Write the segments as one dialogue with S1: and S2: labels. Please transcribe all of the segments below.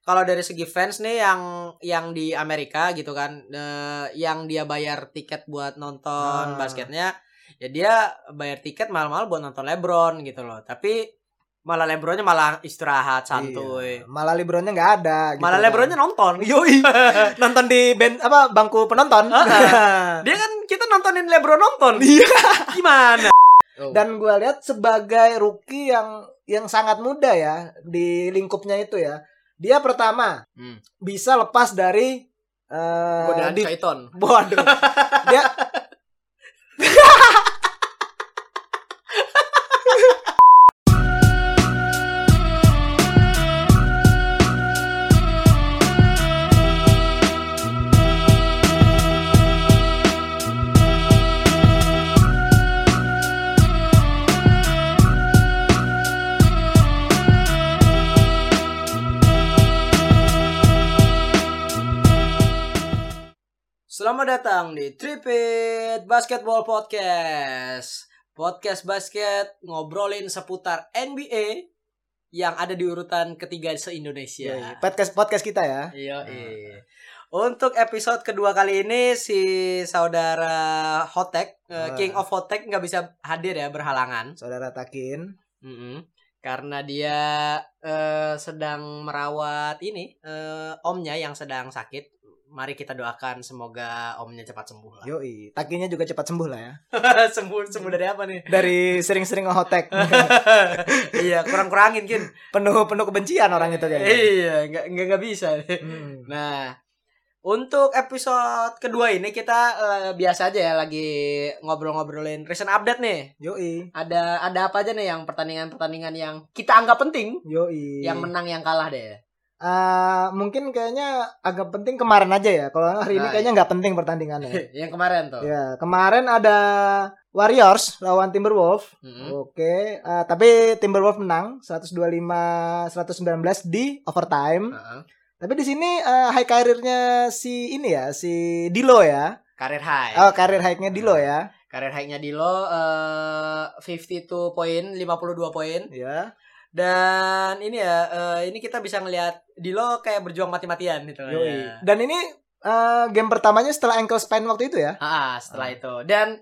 S1: kalau dari segi fans nih yang yang di Amerika gitu kan eh, yang dia bayar tiket buat nonton
S2: Ah.
S1: basketnya ya dia bayar tiket mahal-mahal buat nonton LeBron gitu loh tapi malah LeBronnya malah istirahat santuy
S2: Iya. Malah Lebronnya nggak ada. gitu
S1: malah
S2: kan.
S1: LeBronnya nonton
S2: Yoi. nonton di band apa bangku penonton.
S1: Ah. dia kan kita nontonin LeBron nonton
S2: Iya.
S1: gimana
S2: Dan gue lihat sebagai rookie yang yang sangat muda ya di lingkupnya itu ya. Dia pertama
S1: Hmm.
S2: bisa lepas dari eh,
S1: godaan
S2: di-
S1: Kaiton
S2: Waduh. Dia
S1: Selamat datang di Tripit Basketball Podcast. Podcast basket ngobrolin seputar NBA yang ada di urutan ketiga se-Indonesia.
S2: Yoi. podcast podcast kita ya.
S1: Iya. Untuk episode kedua kali ini si saudara Hotek, eh,
S2: Ah.
S1: King of Hotek nggak bisa hadir ya berhalangan.
S2: Saudara Takin.
S1: Mm-mm. Karena dia eh, sedang merawat ini eh, omnya yang sedang sakit. Mari kita doakan semoga omnya cepat sembuh lah.
S2: Yoi. Takinnya juga cepat sembuh lah ya.
S1: sembuh sembuh dari apa nih?
S2: Dari sering-sering ngehotek.
S1: iya kurang-kurangin kin.
S2: penuh penuh kebencian orang itu kayaknya.
S1: iya nggak nggak nggak bisa.
S2: Hmm.
S1: Nah untuk episode kedua ini kita eh, biasa aja ya lagi ngobrol-ngobrolin recent update nih.
S2: Yoi.
S1: Ada ada apa aja nih yang pertandingan-pertandingan yang kita anggap penting,
S2: Yoi.
S1: yang menang yang kalah deh.
S2: Eh, mungkin kayaknya agak penting kemarin aja ya. Kalau hari ini
S1: Nah,
S2: kayaknya nggak penting pertandingannya.
S1: yang kemarin tuh.
S2: ya, kemarin ada Warriors lawan Timberwolves.
S1: Mm-mm.
S2: Oke, eh, tapi Timberwolves menang 125-119 di overtime.
S1: Heeh.
S2: Tapi di sini eh, high karirnya si ini ya, si Dilo ya.
S1: Karir high.
S2: Oh, karir high-nya Dilo ya.
S1: Karir high-nya Dilo eh, 52 poin, 52 poin.
S2: Ya.
S1: Dan ini ya, eh, ini kita bisa ngelihat Dilo kayak berjuang mati-matian gitu lah
S2: Yoi.
S1: ya.
S2: Dan ini eh, game pertamanya setelah ankle sprain waktu itu ya.
S1: Ah, setelah itu. Dan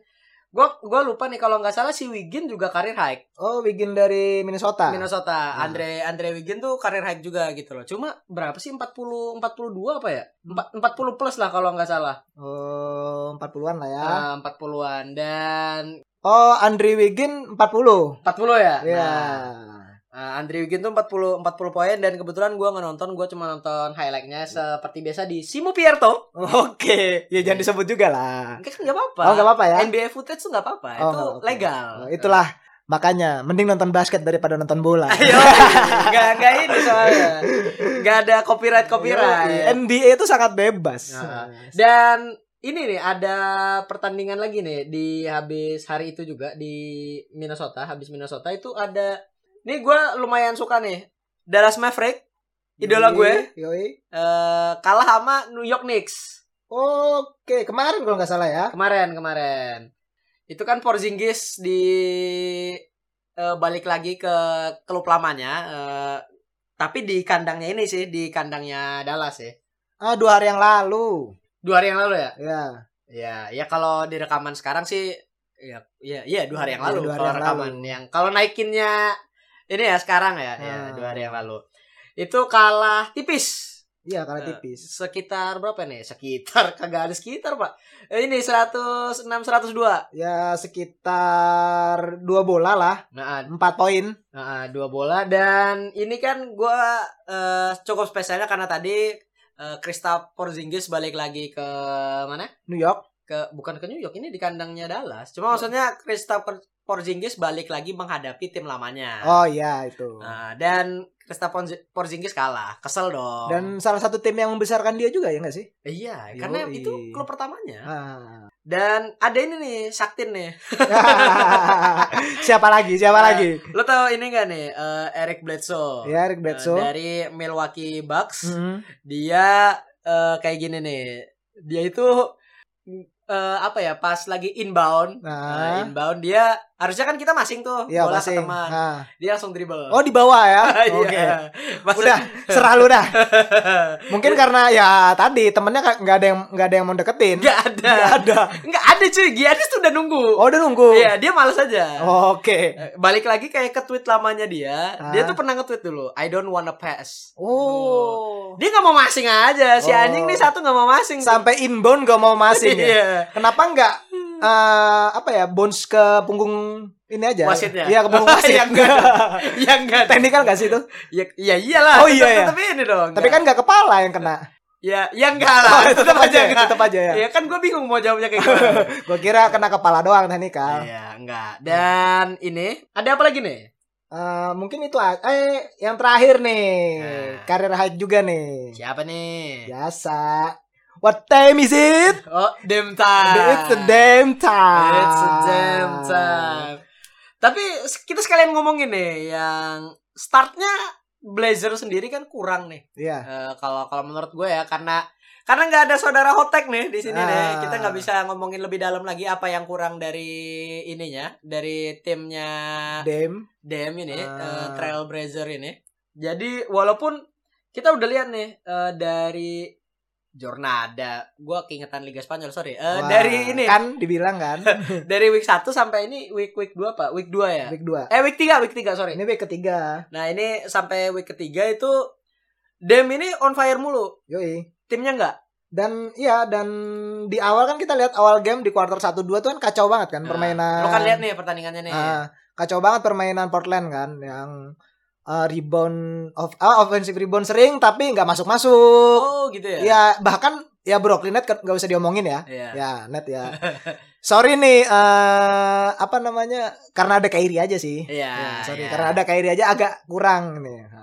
S1: gua gua lupa nih kalau nggak salah si Wigin juga karir high
S2: Oh, Wiggin dari Minnesota.
S1: Minnesota.
S2: Ah.
S1: Andre Andre Wigin tuh karir high juga gitu loh. Cuma berapa sih 40 42 apa ya?
S2: Hmm.
S1: Empat- 40 plus lah kalau nggak salah.
S2: Oh, 40-an lah ya.
S1: Ah, 40-an dan
S2: Oh, Andre Wiggin 40.
S1: 40 ya.
S2: Ya.
S1: Nah, Uh, Andri Wigin tuh 40 40 poin dan kebetulan gua nggak nonton, gua cuma nonton
S2: Hmm.
S1: highlightnya seperti biasa di Simo Pierto.
S2: Oke, ya jangan disebut juga lah.
S1: Enggak nggak apa-apa.
S2: Oh, enggak apa-apa ya.
S1: NBA footage tuh nggak apa-apa,
S2: Oh,
S1: itu
S2: nggak apa-apa.
S1: legal.
S2: Oh, Itulah makanya mending nonton basket daripada nonton bola.
S1: Ayo, Iya. nggak nggak ini soalnya, nggak ada copyright
S2: Iya,
S1: copyright.
S2: NBA itu sangat bebas.
S1: Nah. Dan ini nih ada pertandingan lagi nih di habis hari itu juga di Minnesota, habis Minnesota itu ada. Nih gua lumayan suka nih Dallas Maverick, idola gue.
S2: Yoi, Yoi.
S1: eh kalah sama New York Knicks
S2: Oke, kemarin kalau nggak salah ya.
S1: kemarin kemarin itu kan Porzingis di eh, balik lagi ke klub lamanya eh, tapi di kandangnya ini sih di kandangnya Dallas ya
S2: Ah, dua hari yang lalu.
S1: dua hari yang lalu ya
S2: Ya.
S1: ya ya kalau di rekaman sekarang sih ya ya ya dua hari yang
S2: Iya,
S1: lalu
S2: dua hari
S1: kalau
S2: yang
S1: rekaman
S2: lalu.
S1: yang kalau naikinnya ini ya sekarang ya, ya
S2: Ah.
S1: dua hari yang lalu itu kalah tipis
S2: Iya, kalah
S1: Eh,
S2: tipis.
S1: sekitar berapa nih? Sekitar kagak ada sekitar, Pak. Eh, Ini 106 102.
S2: Ya sekitar dua bola lah,
S1: Nah, ad-
S2: empat poin.
S1: nah, dua bola dan ini kan gua eh, cukup spesialnya karena tadi eh, Kristaps Porzingis balik lagi ke mana?
S2: New York.
S1: Ke bukan ke New York, ini di kandangnya Dallas.
S2: Iya.
S1: Cuma maksudnya Kristaps Porzingis balik lagi menghadapi tim lamanya.
S2: Oh iya itu.
S1: Nah, dan Kristaps Porz- Porzingis kalah. Kesel dong.
S2: Dan salah satu tim yang membesarkan dia juga ya nggak sih?
S1: iya, karena
S2: Yoi.
S1: itu klub pertamanya.
S2: Ah.
S1: Dan ada ini nih, Saktin nih.
S2: siapa lagi? Siapa
S1: Eh,
S2: lagi?
S1: Lo tau ini gak nih eh, Eric Bledsoe
S2: Ya, Mm-hmm. Eric
S1: Eh,
S2: Bledsoe. Hmm.
S1: dari Milwaukee Bucks
S2: Mm-mm.
S1: dia eh, kayak gini nih dia itu eh, apa ya pas lagi inbound Nah,
S2: Nah,
S1: inbound dia harusnya kan kita masing tuh
S2: ya
S1: bola
S2: passing.
S1: ke teman
S2: Nah.
S1: dia langsung dribble
S2: Oh di bawah ya.
S1: Iya.
S2: Oke.
S1: Maksud-
S2: Udah, serah lu dah. Mungkin karena ya tadi temennya ka- nggak ada yang nggak ada yang mau deketin.
S1: nggak ada
S2: Nggak ada.
S1: nggak ada cuy Giannis tuh udah nunggu
S2: Oh udah nunggu.
S1: Iya dia malas aja
S2: Oke.
S1: Eh, balik lagi kayak ke tweet lamanya dia
S2: Ah.
S1: dia tuh pernah nge-tweet dulu I don't wanna pass
S2: Oh.
S1: dia nggak mau masing aja si
S2: Oh.
S1: anjing nih satu nggak mau masing
S2: Sampai inbound gak mau masing ya.
S1: iya
S2: Kenapa nggak eh, apa ya bounce ke punggung ini aja?
S1: Wasitnya.
S2: Iya ke punggung wasit.
S1: Iya, nggak ya nggak
S2: Teknikal gak sih itu?
S1: ya, ya iyalah
S2: Oh, iya,
S1: Tetep-
S2: iya.
S1: tetep ini dong
S2: Tapi kan nggak kepala yang kena.
S1: ya ya enggak lah
S2: Oh, tetep aja,
S1: nggak.
S2: tetep aja ya.
S1: kan gue bingung mau jawabnya kayak gimana
S2: Gue kira kena kepala doang teknikal.
S1: iya enggak dan ini ada apa lagi nih
S2: Eh, mungkin itu a- eh yang terakhir nih
S1: Nah.
S2: karir hype juga nih
S1: siapa
S2: Ya.
S1: nih
S2: biasa what time is it
S1: oh damn time
S2: it's a damn time
S1: It's a damn time. Tapi se- kita sekalian ngomongin nih yang startnya Blazer sendiri kan kurang nih.
S2: Iya.
S1: Eh, Kalau kalau menurut gue ya karena karena nggak ada saudara hotek nih di sini nih.
S2: Ah.
S1: Kita nggak bisa ngomongin lebih dalam lagi apa yang kurang dari ininya dari timnya
S2: damn
S1: DM ini
S2: Ah.
S1: Trail Blazer ini. Jadi walaupun kita udah lihat nih eh, dari Jornada, gue keingetan Liga Spanyol sorry. Eh,
S2: Wah,
S1: dari ini
S2: kan dibilang kan
S1: dari week 1 sampai ini week week 2 apa? Week 2 ya?
S2: week 2
S1: Eh week 3, week 3 sorry.
S2: ini week ketiga
S1: Nah, ini sampai week ketiga itu Dem ini on fire mulu.
S2: yoi
S1: Timnya enggak?
S2: dan iya dan di awal kan kita lihat awal game di quarter 1 2 tuh kan kacau banget kan permainan
S1: Lo kan lihat nih pertandingannya nih.
S2: Ah, kacau banget permainan Portland kan yang eh, rebound of ah, offensive rebound sering tapi nggak masuk-masuk
S1: oh, gitu ya.
S2: Ya bahkan ya Brooklyn Net nggak usah diomongin ya.
S1: Iya.
S2: Ya Net ya. Sorry nih eh apa namanya karena ada Kyrie aja sih.
S1: Iya.
S2: Ya, sorry
S1: iya.
S2: karena ada Kyrie aja agak kurang nih.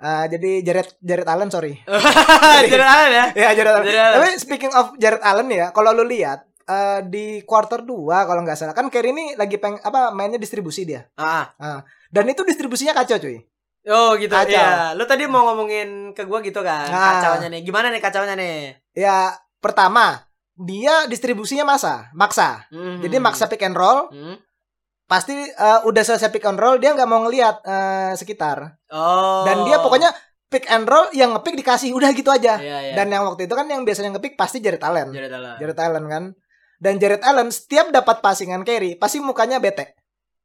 S2: Eh, jadi Jared Jared Allen sorry.
S1: Jadi ada ya.
S2: Ya Jared Allen.
S1: Jared Allen.
S2: Tapi speaking of Jared Allen ya, kalau lu lihat eh, di quarter 2 kalau nggak salah kan Kyrie ini lagi peng apa mainnya distribusi dia.
S1: Ah.
S2: Dan itu distribusinya kacau cuy.
S1: Oh, gitu.
S2: Kacau.
S1: Iya. Lu tadi mau ngomongin ke gua gitu kan.
S2: Ah.
S1: Kacauannya nih. Gimana nih kacauannya nih?
S2: Ya pertama dia distribusinya masa maksa.
S1: Mhm.
S2: Jadi maksa pick and roll
S1: Hmm.
S2: pasti eh, udah selesai pick and roll dia nggak mau ngelihat eh, sekitar
S1: Oh.
S2: dan dia pokoknya pick and roll yang ngepick dikasih udah gitu aja
S1: Iya, iya.
S2: dan yang waktu itu kan yang biasanya ngepick pasti Jared Allen
S1: Jared Allen.
S2: Jared Allen kan dan Jared Allen setiap dapat passingan carry pasti mukanya bete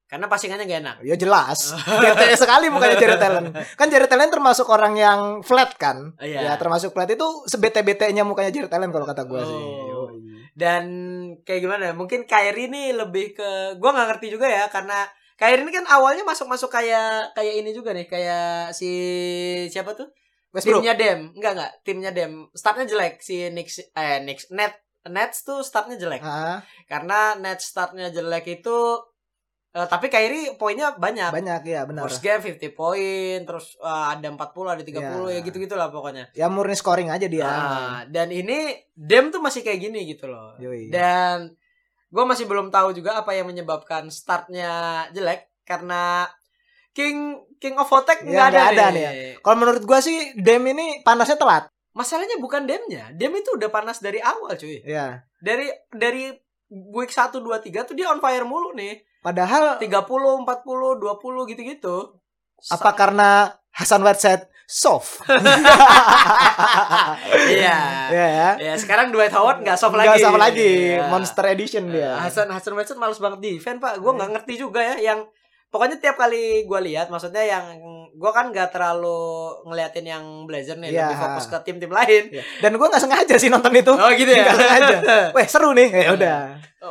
S1: Karena pasingannya gak enak.
S2: ya jelas bete sekali mukanya Jared Allen kan Jared Allen termasuk orang yang flat kan
S1: Iya.
S2: ya termasuk flat itu sebete betenya mukanya Jared Allen kalau kata gue sih
S1: Oh. dan kayak gimana ya, mungkin Kyrie ini lebih ke gua nggak ngerti juga ya karena Kyrie ini kan awalnya masuk-masuk kayak kayak ini juga nih kayak si siapa tuh
S2: Westbrook
S1: timnya Dem enggak enggak timnya Dem startnya jelek si Knicks eh Knicks Net Nets tuh startnya jelek
S2: Ah,
S1: karena Nets startnya jelek itu eh, tapi Kyrie poinnya banyak
S2: banyak ya benar
S1: First game 50 poin, terus eh, ada 40, ada 30 ya
S2: Ya.
S1: gitu-gitulah pokoknya.
S2: ya murni scoring aja dia
S1: Ah, dan ini Dem tuh masih kayak gini gitu loh.
S2: Yoi.
S1: Dan gue masih belum tahu juga apa yang menyebabkan startnya jelek karena King King of Hotek
S2: Ya,
S1: nggak ada,
S2: nggak ada
S1: nih.
S2: nih Kalau menurut gua sih Dem ini panasnya telat.
S1: Masalahnya bukan demnya, dem itu udah panas dari awal cuy.
S2: Ya.
S1: Dari dari week 1 2 3 tuh dia on fire mulu nih.
S2: Padahal
S1: 30, 40, 20 gitu-gitu.
S2: apa karena Hasan Whiteside soft?
S1: Iya.
S2: Iya ya.
S1: Ya, sekarang Dwight Howard nggak soft lagi.
S2: Nggak soft lagi.
S1: Iya.
S2: Monster edition
S1: Eh,
S2: dia. Iya.
S1: Hasan Hasan Whiteside males banget defend pak gue nggak ngerti juga ya yang pokoknya tiap kali gue lihat maksudnya yang gue kan nggak terlalu ngeliatin yang Blazer nih
S2: Iya.
S1: lebih fokus ke tim-tim lain
S2: Iya. Dan gua nggak sengaja sih nonton itu.
S1: oh gitu ya
S2: Nggak sengaja. Weh seru nih.
S1: Iya.
S2: Ya udah.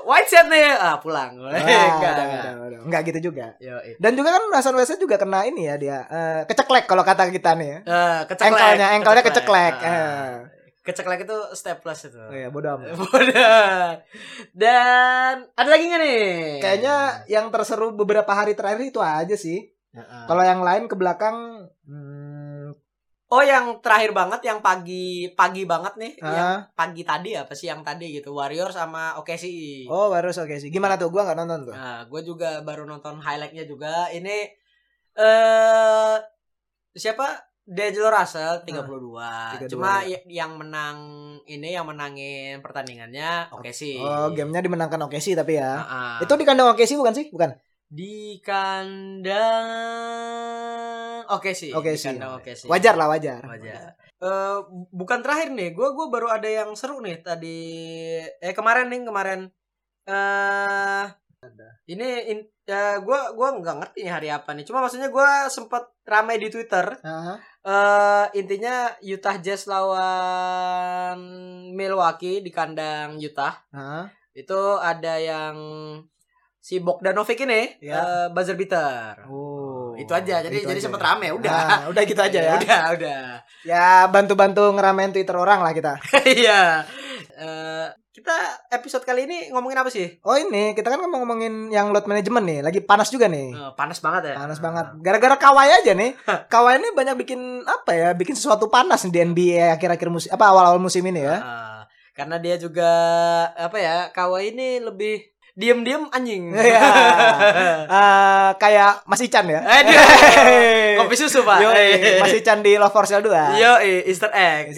S1: Whiteside nih ah pulang
S2: Ah,
S1: enggak ada
S2: udah,
S1: enggak
S2: udah. Nggak gitu juga.
S1: Yoi.
S2: Dan juga kan Hasan Whiteside juga kena ini ya dia. eh, keceklek kalau kata kita nih. ya.
S1: Eh, keceklek
S2: Engkelnya, engkelnya keceklek.
S1: Ah. Iya, keceklek itu stepless itu
S2: Eh, oh ya bodoh amat.
S1: Bodoh. dan ada lagi nggak nih iya.
S2: Kayaknya yang terseru beberapa hari terakhir itu aja sih.
S1: Heeh.
S2: Kalau yang lain ke belakang hmm,
S1: oh yang terakhir banget yang pagi pagi banget nih yang
S2: ah,
S1: pagi tadi apa siang tadi gitu Warrior sama OKC.
S2: oh baru oke sih. Gimana tuh? Gua nggak nonton tuh.
S1: Nah, gue juga baru nonton highlightnya juga. Ini eh siapa D'Angelo Russell 32.
S2: 32.
S1: Cuma y- yang menang ini yang menangin pertandingannya oke sih.
S2: Oh, gamenya dimenangkan Okesi tapi ya.
S1: Ah, ah.
S2: Itu di kandang Okesi bukan sih? Bukan.
S1: di kandang oke sih.
S2: Oke
S1: di
S2: sih.
S1: kandang oke sih.
S2: Wajar lah, wajar.
S1: Wajar. Eh, bu- bukan terakhir nih, gue gua baru ada yang seru nih tadi eh kemarin nih kemarin eh ini in, eh, gua gua nggak ngerti nih hari apa nih. Cuma maksudnya gua sempat ramai di Twitter.
S2: Hah?
S1: eh intinya Utah Jazz lawan Milwaukee di kandang Utah.
S2: Hah?
S1: Itu ada yang si Bogdanovic ini
S2: Ya.
S1: eh, buzzer beater.
S2: Oh.
S1: Itu aja. Jadi
S2: Itu
S1: jadi
S2: aja
S1: sempat
S2: ya.
S1: rame udah. Iya,
S2: Ah, udah gitu aja ya.
S1: Udah, udah.
S2: Ya, bantu-bantu ngeramein Twitter orang lah kita.
S1: Iya. Eh, kita episode kali ini ngomongin apa sih?
S2: Oh, ini kita kan mau ngomongin yang load management nih, lagi panas juga nih.
S1: Eh, panas banget ya.
S2: Panas banget. Gara-gara Kawhi aja nih. Kawhi ini banyak bikin apa ya? Bikin sesuatu panas nih di NBA akhir-akhir musim apa awal-awal musim ini ya.
S1: Eh, karena dia juga apa ya? Kawhi ini lebih diem-diem anjing.
S2: Iya. Eh, kayak Mas Ican ya.
S1: Aduh.
S2: Hehehe.
S1: Eh, Kopi susu, Pak.
S2: Yo,
S1: Eh.
S2: Mas Ican di Love for Sale 2.
S1: Yo, eh, Easter egg.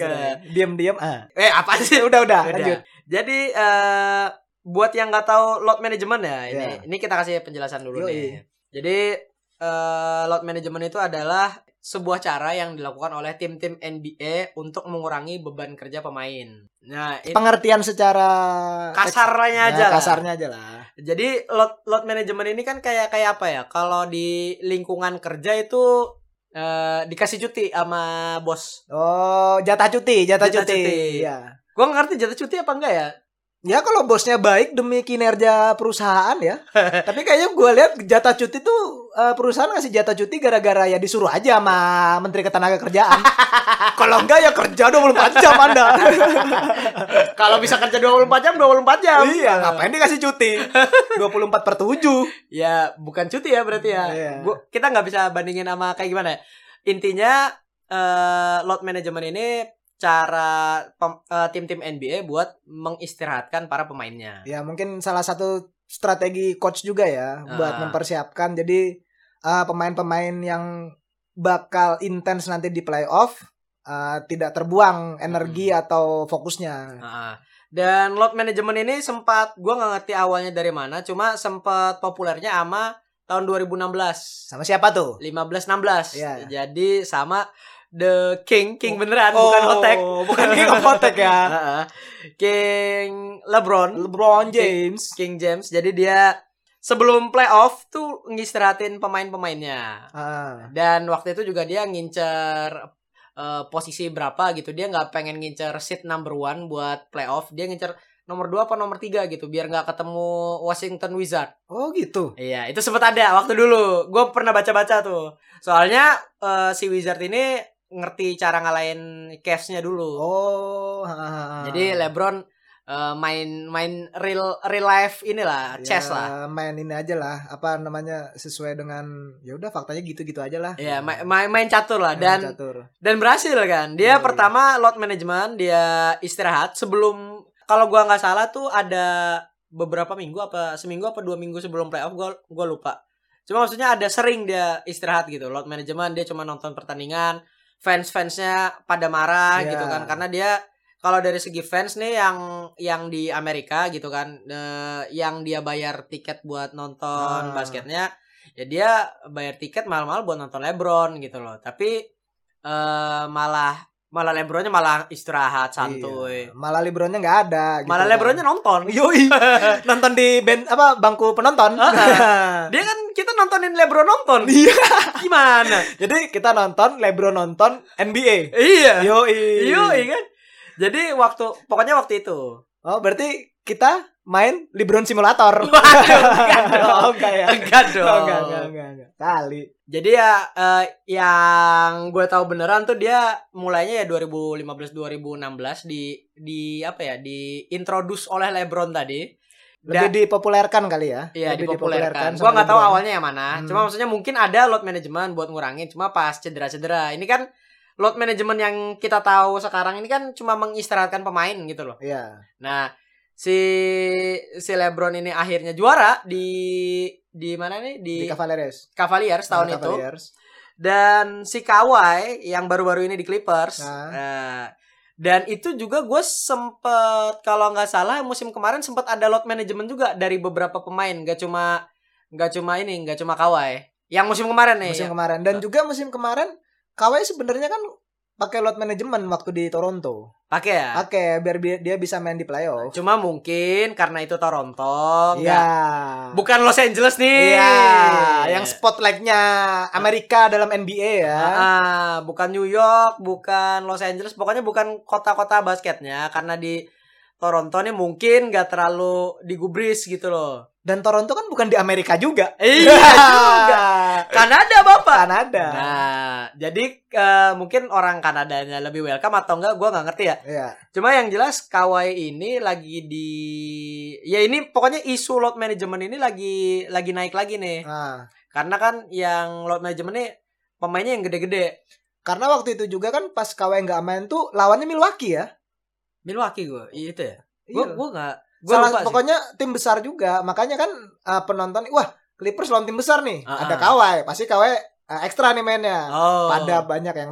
S2: Diam-diam. Ah.
S1: Eh, apa sih?
S2: Udah, udah,
S1: Udah.
S2: lanjut.
S1: Jadi eh buat yang nggak tahu load management ya, ini
S2: Iya.
S1: ini kita kasih penjelasan dulu
S2: Yoi.
S1: nih. Jadi eh load management itu adalah sebuah cara yang dilakukan oleh tim-tim NBA untuk mengurangi beban kerja pemain. Nah, ini
S2: Pengertian secara
S1: kasarnya
S2: Ya,
S1: aja. lah.
S2: kasarnya aja lah.
S1: Jadi load load management ini kan kayak kayak apa ya? Kalau di lingkungan kerja itu eh dikasih cuti sama bos.
S2: Oh, jatah cuti, jatah,
S1: Jatah
S2: cuti.
S1: cuti.
S2: Ya.
S1: Gua nggak ngerti jatah cuti apa enggak ya?
S2: Ya kalau bosnya baik demi kinerja perusahaan ya. Tapi kayaknya gue lihat jatah cuti tuh eh, perusahaan ngasih jatah cuti gara-gara ya disuruh aja sama Menteri Ketenagakerjaan. kalau enggak ya kerja 24 jam Anda.
S1: Kalau bisa kerja 24 jam, 24 jam.
S2: iya, ngapain dikasih cuti? 24 per 7.
S1: Ya, bukan cuti ya berarti ya.
S2: Iya.
S1: Gua, kita nggak bisa bandingin sama kayak gimana ya. Intinya eh load management ini cara pem- eh, tim-tim NBA buat mengistirahatkan para pemainnya.
S2: Ya mungkin salah satu strategi coach juga ya
S1: Ah.
S2: buat mempersiapkan jadi eh, pemain-pemain yang bakal intens nanti di playoff eh, tidak terbuang energi atau fokusnya.
S1: Heeh. Dan load management ini sempat gua nggak ngerti awalnya dari mana, cuma sempat populernya sama tahun 2016.
S2: Sama siapa tuh?
S1: 15 16.
S2: Iya.
S1: Jadi sama The King, King beneran bukan
S2: Oh,
S1: Hotek.
S2: Bukan King of Hotek ya.
S1: Heeh. King LeBron.
S2: LeBron James.
S1: King James. Jadi dia sebelum playoff tuh ngistirahatin pemain-pemainnya.
S2: Ah,
S1: Dan waktu itu juga dia ngincer eh, posisi berapa gitu. Dia nggak pengen ngincer seat number one buat playoff. Dia ngincer nomor 2 apa nomor 3 gitu biar nggak ketemu Washington Wizard.
S2: Oh gitu.
S1: Iya, itu sempat ada waktu dulu. Gue pernah baca-baca tuh. Soalnya eh, si Wizard ini ngerti cara ngalahin Cavs-nya dulu.
S2: Oh. ah.
S1: Jadi LeBron eh, main main real real life inilah,
S2: Ya,
S1: chess lah.
S2: Main ini aja lah. Apa namanya sesuai dengan ya udah faktanya gitu-gitu aja lah.
S1: Iya, ma- ma- main catur lah
S2: Main
S1: dan
S2: catur.
S1: dan berhasil kan. Dia
S2: Iya.
S1: pertama load management, dia istirahat sebelum kalau gua nggak salah tuh ada beberapa minggu apa seminggu apa dua minggu sebelum playoff gua gua lupa. Cuma maksudnya ada sering dia istirahat gitu. Load management dia cuma nonton pertandingan, fans-fansnya pada marah
S2: Iya.
S1: gitu kan karena dia kalau dari segi fans nih yang yang di Amerika gitu kan eh, yang dia bayar tiket buat nonton
S2: Ah.
S1: basketnya ya dia bayar tiket mahal-mahal buat nonton LeBron gitu loh tapi eh malah malah LeBronnya malah istirahat santuy
S2: Iya. Malah Lebronnya nggak ada. gitu
S1: malah
S2: kan.
S1: LeBronnya nonton
S2: Yoi. nonton di band apa bangku penonton.
S1: dia kan kita nontonin LeBron nonton
S2: Ah, Iya.
S1: gimana
S2: Jadi kita nonton Lebron nonton NBA.
S1: iya
S2: Yoi.
S1: iya kan jadi waktu pokoknya waktu itu
S2: Oh, berarti kita main Lebron simulator.
S1: enggak dong.
S2: Oh, enggak ya.
S1: enggak
S2: Oh,
S1: dong
S2: enggak, enggak, enggak, enggak. Kali.
S1: Jadi ya eh, yang gue tahu beneran tuh dia mulainya ya 2015 2016 di di apa ya di introduce oleh LeBron tadi.
S2: Lebih
S1: Dan-
S2: dipopulerkan kali ya.
S1: Iya
S2: Lebih
S1: dipopulerkan.
S2: sama
S1: Gua nggak tahu
S2: LeBron.
S1: awalnya yang mana.
S2: Hmm.
S1: Cuma maksudnya mungkin ada load management buat ngurangin. Cuma pas cedera-cedera. Ini kan load management yang kita tahu sekarang ini kan cuma mengistirahatkan pemain gitu loh.
S2: Iya.
S1: Nah si si LeBron ini akhirnya juara di di mana nih di,
S2: Di Cavaliers.
S1: Cavaliers tahun
S2: Sama
S1: itu. Iya,
S2: Cavaliers.
S1: Dan si Kawhi yang baru-baru ini di Clippers.
S2: Nah.
S1: eh, dan itu juga gue sempet kalau nggak salah musim kemarin sempet ada load management juga dari beberapa pemain. Gak cuma nggak cuma ini, nggak cuma Kawhi. Yang musim kemarin nih.
S2: musim
S1: yang-
S2: kemarin dan juga musim kemarin Kawhi sebenarnya kan pakai load management waktu di Toronto.
S1: Pakai ya.
S2: Pakai biar bi- dia bisa main di playoff.
S1: Cuma mungkin karena itu Toronto.
S2: Iya.
S1: nggak- Bukan Los Angeles nih.
S2: Iya, yang spotlightnya Amerika dalam NBA ya.
S1: Ah, ah, bukan New York, bukan Los Angeles, pokoknya bukan kota-kota basketnya karena di Toronto nih mungkin gak terlalu digubris gitu loh.
S2: Dan Toronto kan bukan di Amerika juga.
S1: Iya juga. Kanada bapak.
S2: Kanada.
S1: Nah, jadi eh, mungkin orang Kanadanya lebih welcome atau enggak gua nggak ngerti ya.
S2: Iya.
S1: Cuma yang jelas Kawhi ini lagi di ya ini pokoknya isu load management ini lagi lagi naik lagi nih.
S2: Nah,
S1: Karena kan yang load management ini pemainnya yang gede-gede.
S2: karena waktu itu juga kan pas Kawhi nggak main tuh lawannya Milwaukee ya.
S1: Milwaukee gue, itu ya. gue
S2: Iya.
S1: gue nggak gue
S2: Salah-
S1: lupa sih.
S2: pokoknya tim besar juga. Makanya kan eh, penonton wah, Clippers lawan tim besar nih.
S1: Ah, ah.
S2: Ada Kawhi, pasti Kawhi eh, ekstra nih mainnya.
S1: oh
S2: Pada banyak yang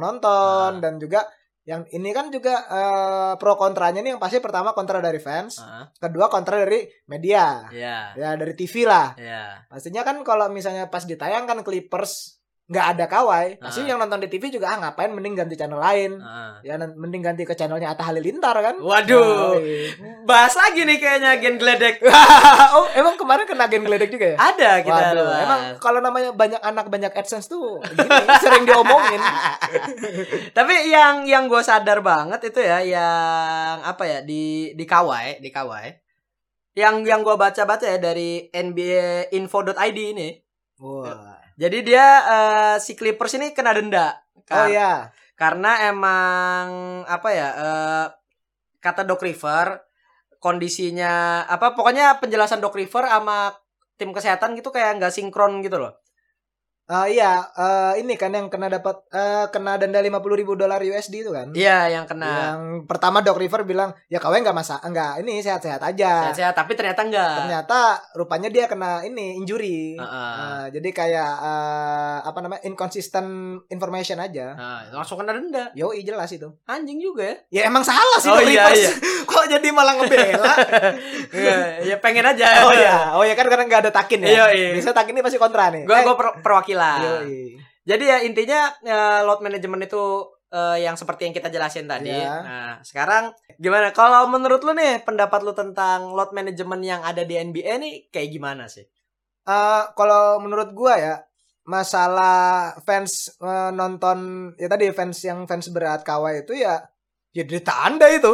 S1: Ah.
S2: nonton dan juga yang ini kan juga eh, pro kontranya nih yang pasti pertama kontra dari fans,
S1: Ah,
S2: kedua kontra dari media.
S1: ya
S2: ya dari TV lah
S1: ya
S2: pastinya kan kalau misalnya pas ditayangkan Clippers nggak ada kawai pasti
S1: Ah.
S2: yang nonton di TV juga ah ngapain mending ganti channel lain
S1: ah.
S2: ya nan- mending ganti ke channelnya Atta Halilintar kan
S1: waduh
S2: Yoi.
S1: bahas lagi nih kayaknya gen gledek
S2: oh emang kemarin kena gen geledek juga ya
S1: ada Ah, kita
S2: Waduh,
S1: bahas.
S2: emang kalau namanya banyak anak banyak adsense tuh gini, sering diomongin
S1: tapi yang yang gue sadar banget itu ya yang apa ya di di kawai di kawai yang yang gue baca baca ya dari nbainfo.id ini
S2: Wah.
S1: jadi dia eh, si Clippers ini kena denda
S2: oh
S1: Kar-
S2: ya
S1: karena emang apa ya eh, kata Doc River kondisinya apa pokoknya penjelasan Doc River sama tim kesehatan gitu kayak nggak sinkron gitu loh
S2: Eh, iya eh, ini kan yang kena dapat eh, kena denda 50.000 ribu dolar USD itu kan
S1: iya yang kena
S2: yang pertama Doc River bilang ya kawai nggak masalah nggak ini sehat-sehat aja
S1: saya tapi ternyata nggak
S2: ternyata rupanya dia kena ini injury.
S1: Ah, Heeh.
S2: Nah, jadi kayak eh, apa namanya inconsistent information aja.
S1: Nah, langsung kena denda
S2: Yoi jelas itu.
S1: anjing juga ya
S2: Ya emang salah sih
S1: Oh,
S2: Doc
S1: iya,
S2: Rivers.
S1: iya.
S2: Kok jadi malah ngebela?
S1: Iya, ya pengen aja
S2: oh ya, oh ya kan karena nggak ada takin ya.
S1: Iya, iya.
S2: Biasanya takin ini pasti kontra nih.
S1: gue
S2: Eh, ah.
S1: perwakilan
S2: Yoi.
S1: Jadi ya intinya eh, load management itu eh, yang seperti yang kita jelasin tadi.
S2: Iya.
S1: Nah, sekarang gimana kalau menurut lu nih pendapat lu tentang load management yang ada di NBA nih kayak gimana sih?
S2: Eh, kalau menurut gua ya masalah fans eh, nonton ya tadi fans yang fans berat kawai itu ya ya derita anda itu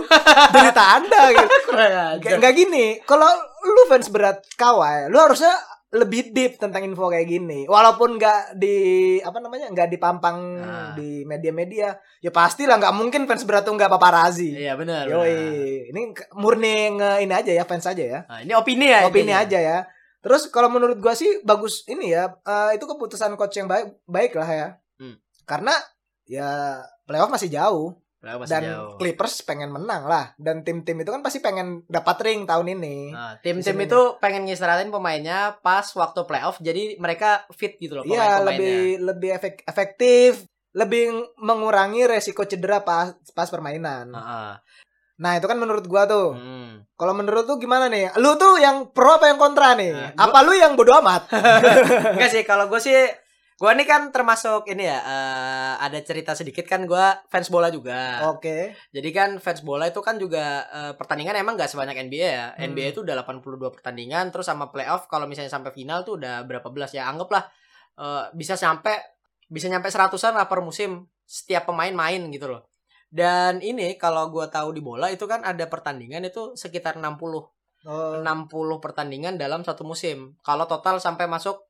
S2: derita anda gitu Nggak, nggak gini, kalau lu fans berat kawai, lu harusnya lebih deep tentang info kayak gini. Walaupun nggak di apa namanya nggak dipampang
S1: Ah.
S2: di media-media, ya pastilah nggak mungkin fans berat tuh nggak paparazi.
S1: Iya benar. benar.
S2: Yoi, ini ke- murni nge ini aja ya fans aja ya,
S1: Nah, ini opini ya.
S2: opini
S1: intinya.
S2: aja ya. Terus kalau menurut gua sih bagus ini ya, eh, itu keputusan coach yang baik baik lah ya.
S1: Hmm.
S2: Karena ya playoff masih jauh
S1: Lah, masih
S2: dan
S1: jauh.
S2: Clippers pengen menang lah dan tim-tim itu kan pasti pengen dapat ring tahun ini.
S1: Nah, tim-tim
S2: Season
S1: itu pengen ngistirahatin pemainnya pas waktu playoff jadi mereka fit gitu loh pemain-pemainnya.
S2: Iya lebih lebih efek- efektif, lebih mengurangi resiko cedera pas pas permainan.
S1: Heeh.
S2: Nah itu kan menurut gua tuh.
S1: Hmm.
S2: Kalau menurut tuh gimana nih? Lu tuh yang pro apa yang kontra nih?
S1: Nah, gua-
S2: Apa lu yang bodoh amat?
S1: Enggak sih, kalau gue sih gue ini kan termasuk ini ya eh, ada cerita sedikit kan gue fans bola juga.
S2: Oke.
S1: Jadi kan fans bola itu kan juga eh, pertandingan emang gak sebanyak NBA ya.
S2: Hmm.
S1: NBA itu udah 82 pertandingan terus sama playoff kalau misalnya sampai final tuh udah berapa belas ya anggaplah eh, bisa sampai bisa nyampe seratusan lah per musim setiap pemain main gitu loh. Dan ini kalau gue tahu di bola itu kan ada pertandingan itu sekitar 60 Nah.
S2: Oh,
S1: 60 pertandingan dalam satu musim. Kalau total sampai masuk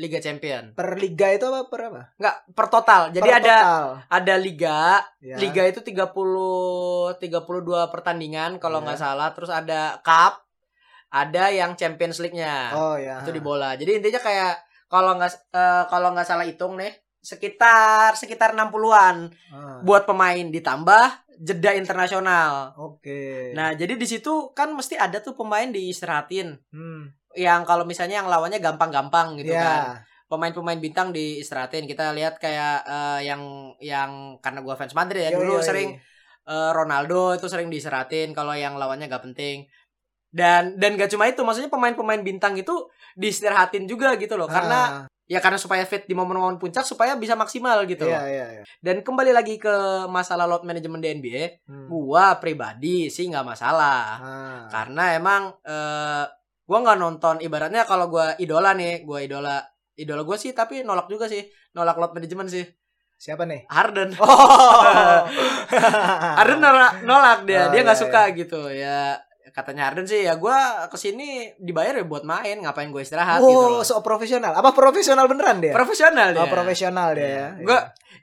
S1: Liga Champion.
S2: per liga itu apa per apa?
S1: Enggak, per total. Jadi
S2: Per
S1: ada
S2: total.
S1: ada liga,
S2: Ya.
S1: liga itu 30 32 pertandingan kalau
S2: Ya.
S1: nggak salah, terus ada cup, ada yang Champions League-nya.
S2: Oh ya.
S1: Itu di bola. Jadi intinya kayak kalau nggak eh, kalau nggak salah hitung nih sekitar sekitar 60-an
S2: Ah,
S1: buat pemain ditambah jeda internasional.
S2: Oke.
S1: Nah, jadi di situ kan mesti ada tuh pemain diistirahatin
S2: Hmm,
S1: yang kalau misalnya yang lawannya gampang-gampang gitu
S2: ya.
S1: kan. pemain-pemain bintang diistirahatin. Kita lihat kayak eh, yang yang karena gua fans Madrid ya
S2: Yoi,
S1: dulu
S2: yoi.
S1: sering eh, Ronaldo itu sering diistirahatin kalau yang lawannya gak penting. Dan dan gak cuma itu, maksudnya pemain-pemain bintang itu diistirahatin juga gitu loh. Karena
S2: Ah,
S1: ya karena supaya fit di momen-momen puncak supaya bisa maksimal gitu
S2: iya
S1: loh.
S2: iya iya.
S1: Dan kembali lagi ke masalah load management di NBA,
S2: Hmm.
S1: gua pribadi sih nggak masalah
S2: Ah.
S1: karena emang eh gue nggak nonton ibaratnya kalau gua idola nih gua idola idola gue sih tapi nolak juga sih nolak load management sih
S2: Siapa nih?
S1: Harden
S2: Oh.
S1: Harden nolak, nolak dia
S2: Ah,
S1: dia nggak
S2: iya,
S1: suka gitu ya katanya Harden sih ya gua kesini dibayar ya buat main ngapain gue istirahat gitu loh.
S2: Wow, so profesional. Apa profesional beneran dia?
S1: profesional dia
S2: Oh,
S1: Iya.
S2: Oh, profesional dia ya.
S1: Gua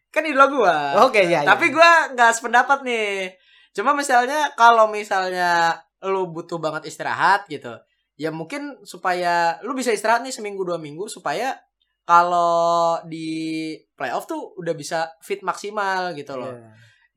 S1: kan idola gua
S2: Oke, ya.
S1: tapi gua nggak sependapat nih cuma misalnya kalau misalnya lu butuh banget istirahat gitu ya mungkin supaya lu bisa istirahat nih seminggu dua minggu supaya kalau di playoff tuh udah bisa fit maksimal gitu loh
S2: Iya.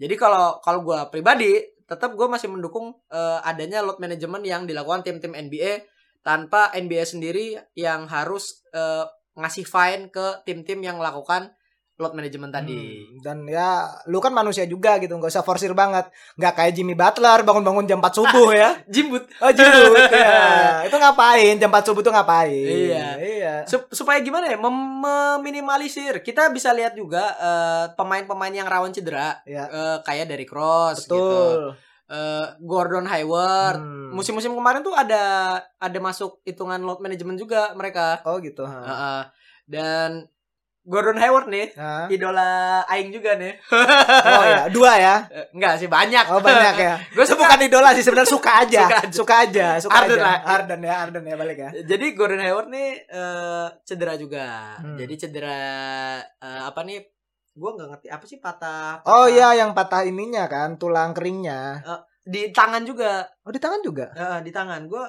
S1: jadi kalau kalau gua pribadi tetap gua masih mendukung eh, adanya load management yang dilakukan tim-tim NBA tanpa NBA sendiri yang harus eh, ngasih fine ke tim-tim yang melakukan load management tadi.
S2: Hmm, dan ya lu kan manusia juga gitu, nggak usah forsir banget. Nggak kayak Jimmy Butler bangun-bangun jam 4 subuh ya.
S1: Jimbut
S2: Oh, judul. ya. Itu ngapain? Jam 4 subuh tuh ngapain?
S1: Iya.
S2: Iya.
S1: Sup- supaya gimana ya mem- meminimalisir. Kita bisa lihat juga eh, pemain-pemain yang rawan cedera
S2: Iya.
S1: Eh, kayak dari Cross gitu.
S2: Betul.
S1: Eh, Gordon Hayward.
S2: Hmm.
S1: Musim-musim kemarin tuh ada ada masuk hitungan load management juga mereka.
S2: Oh, gitu. Ha.
S1: Heeh. dan Gordon Hayward nih
S2: Ha.
S1: idola aing juga nih.
S2: Oh ya, dua ya.
S1: Eh, Enggak sih banyak.
S2: Oh, banyak ya.
S1: Gue
S2: Itu bukan idola sih sebenarnya suka aja.
S1: Suka
S2: suka
S1: aja.
S2: aja. Suka aja,
S1: Arden lah.
S2: Arden ya, Arden ya balik ya.
S1: Jadi Gordon Hayward nih eh, cedera juga.
S2: Hmm.
S1: Jadi cedera eh, apa nih? Gue nggak ngerti apa sih patah. patah
S2: Oh iya, yang patah ininya kan, tulang keringnya.
S1: Di tangan juga.
S2: Oh, di tangan juga.
S1: Eh, di tangan eh, gue.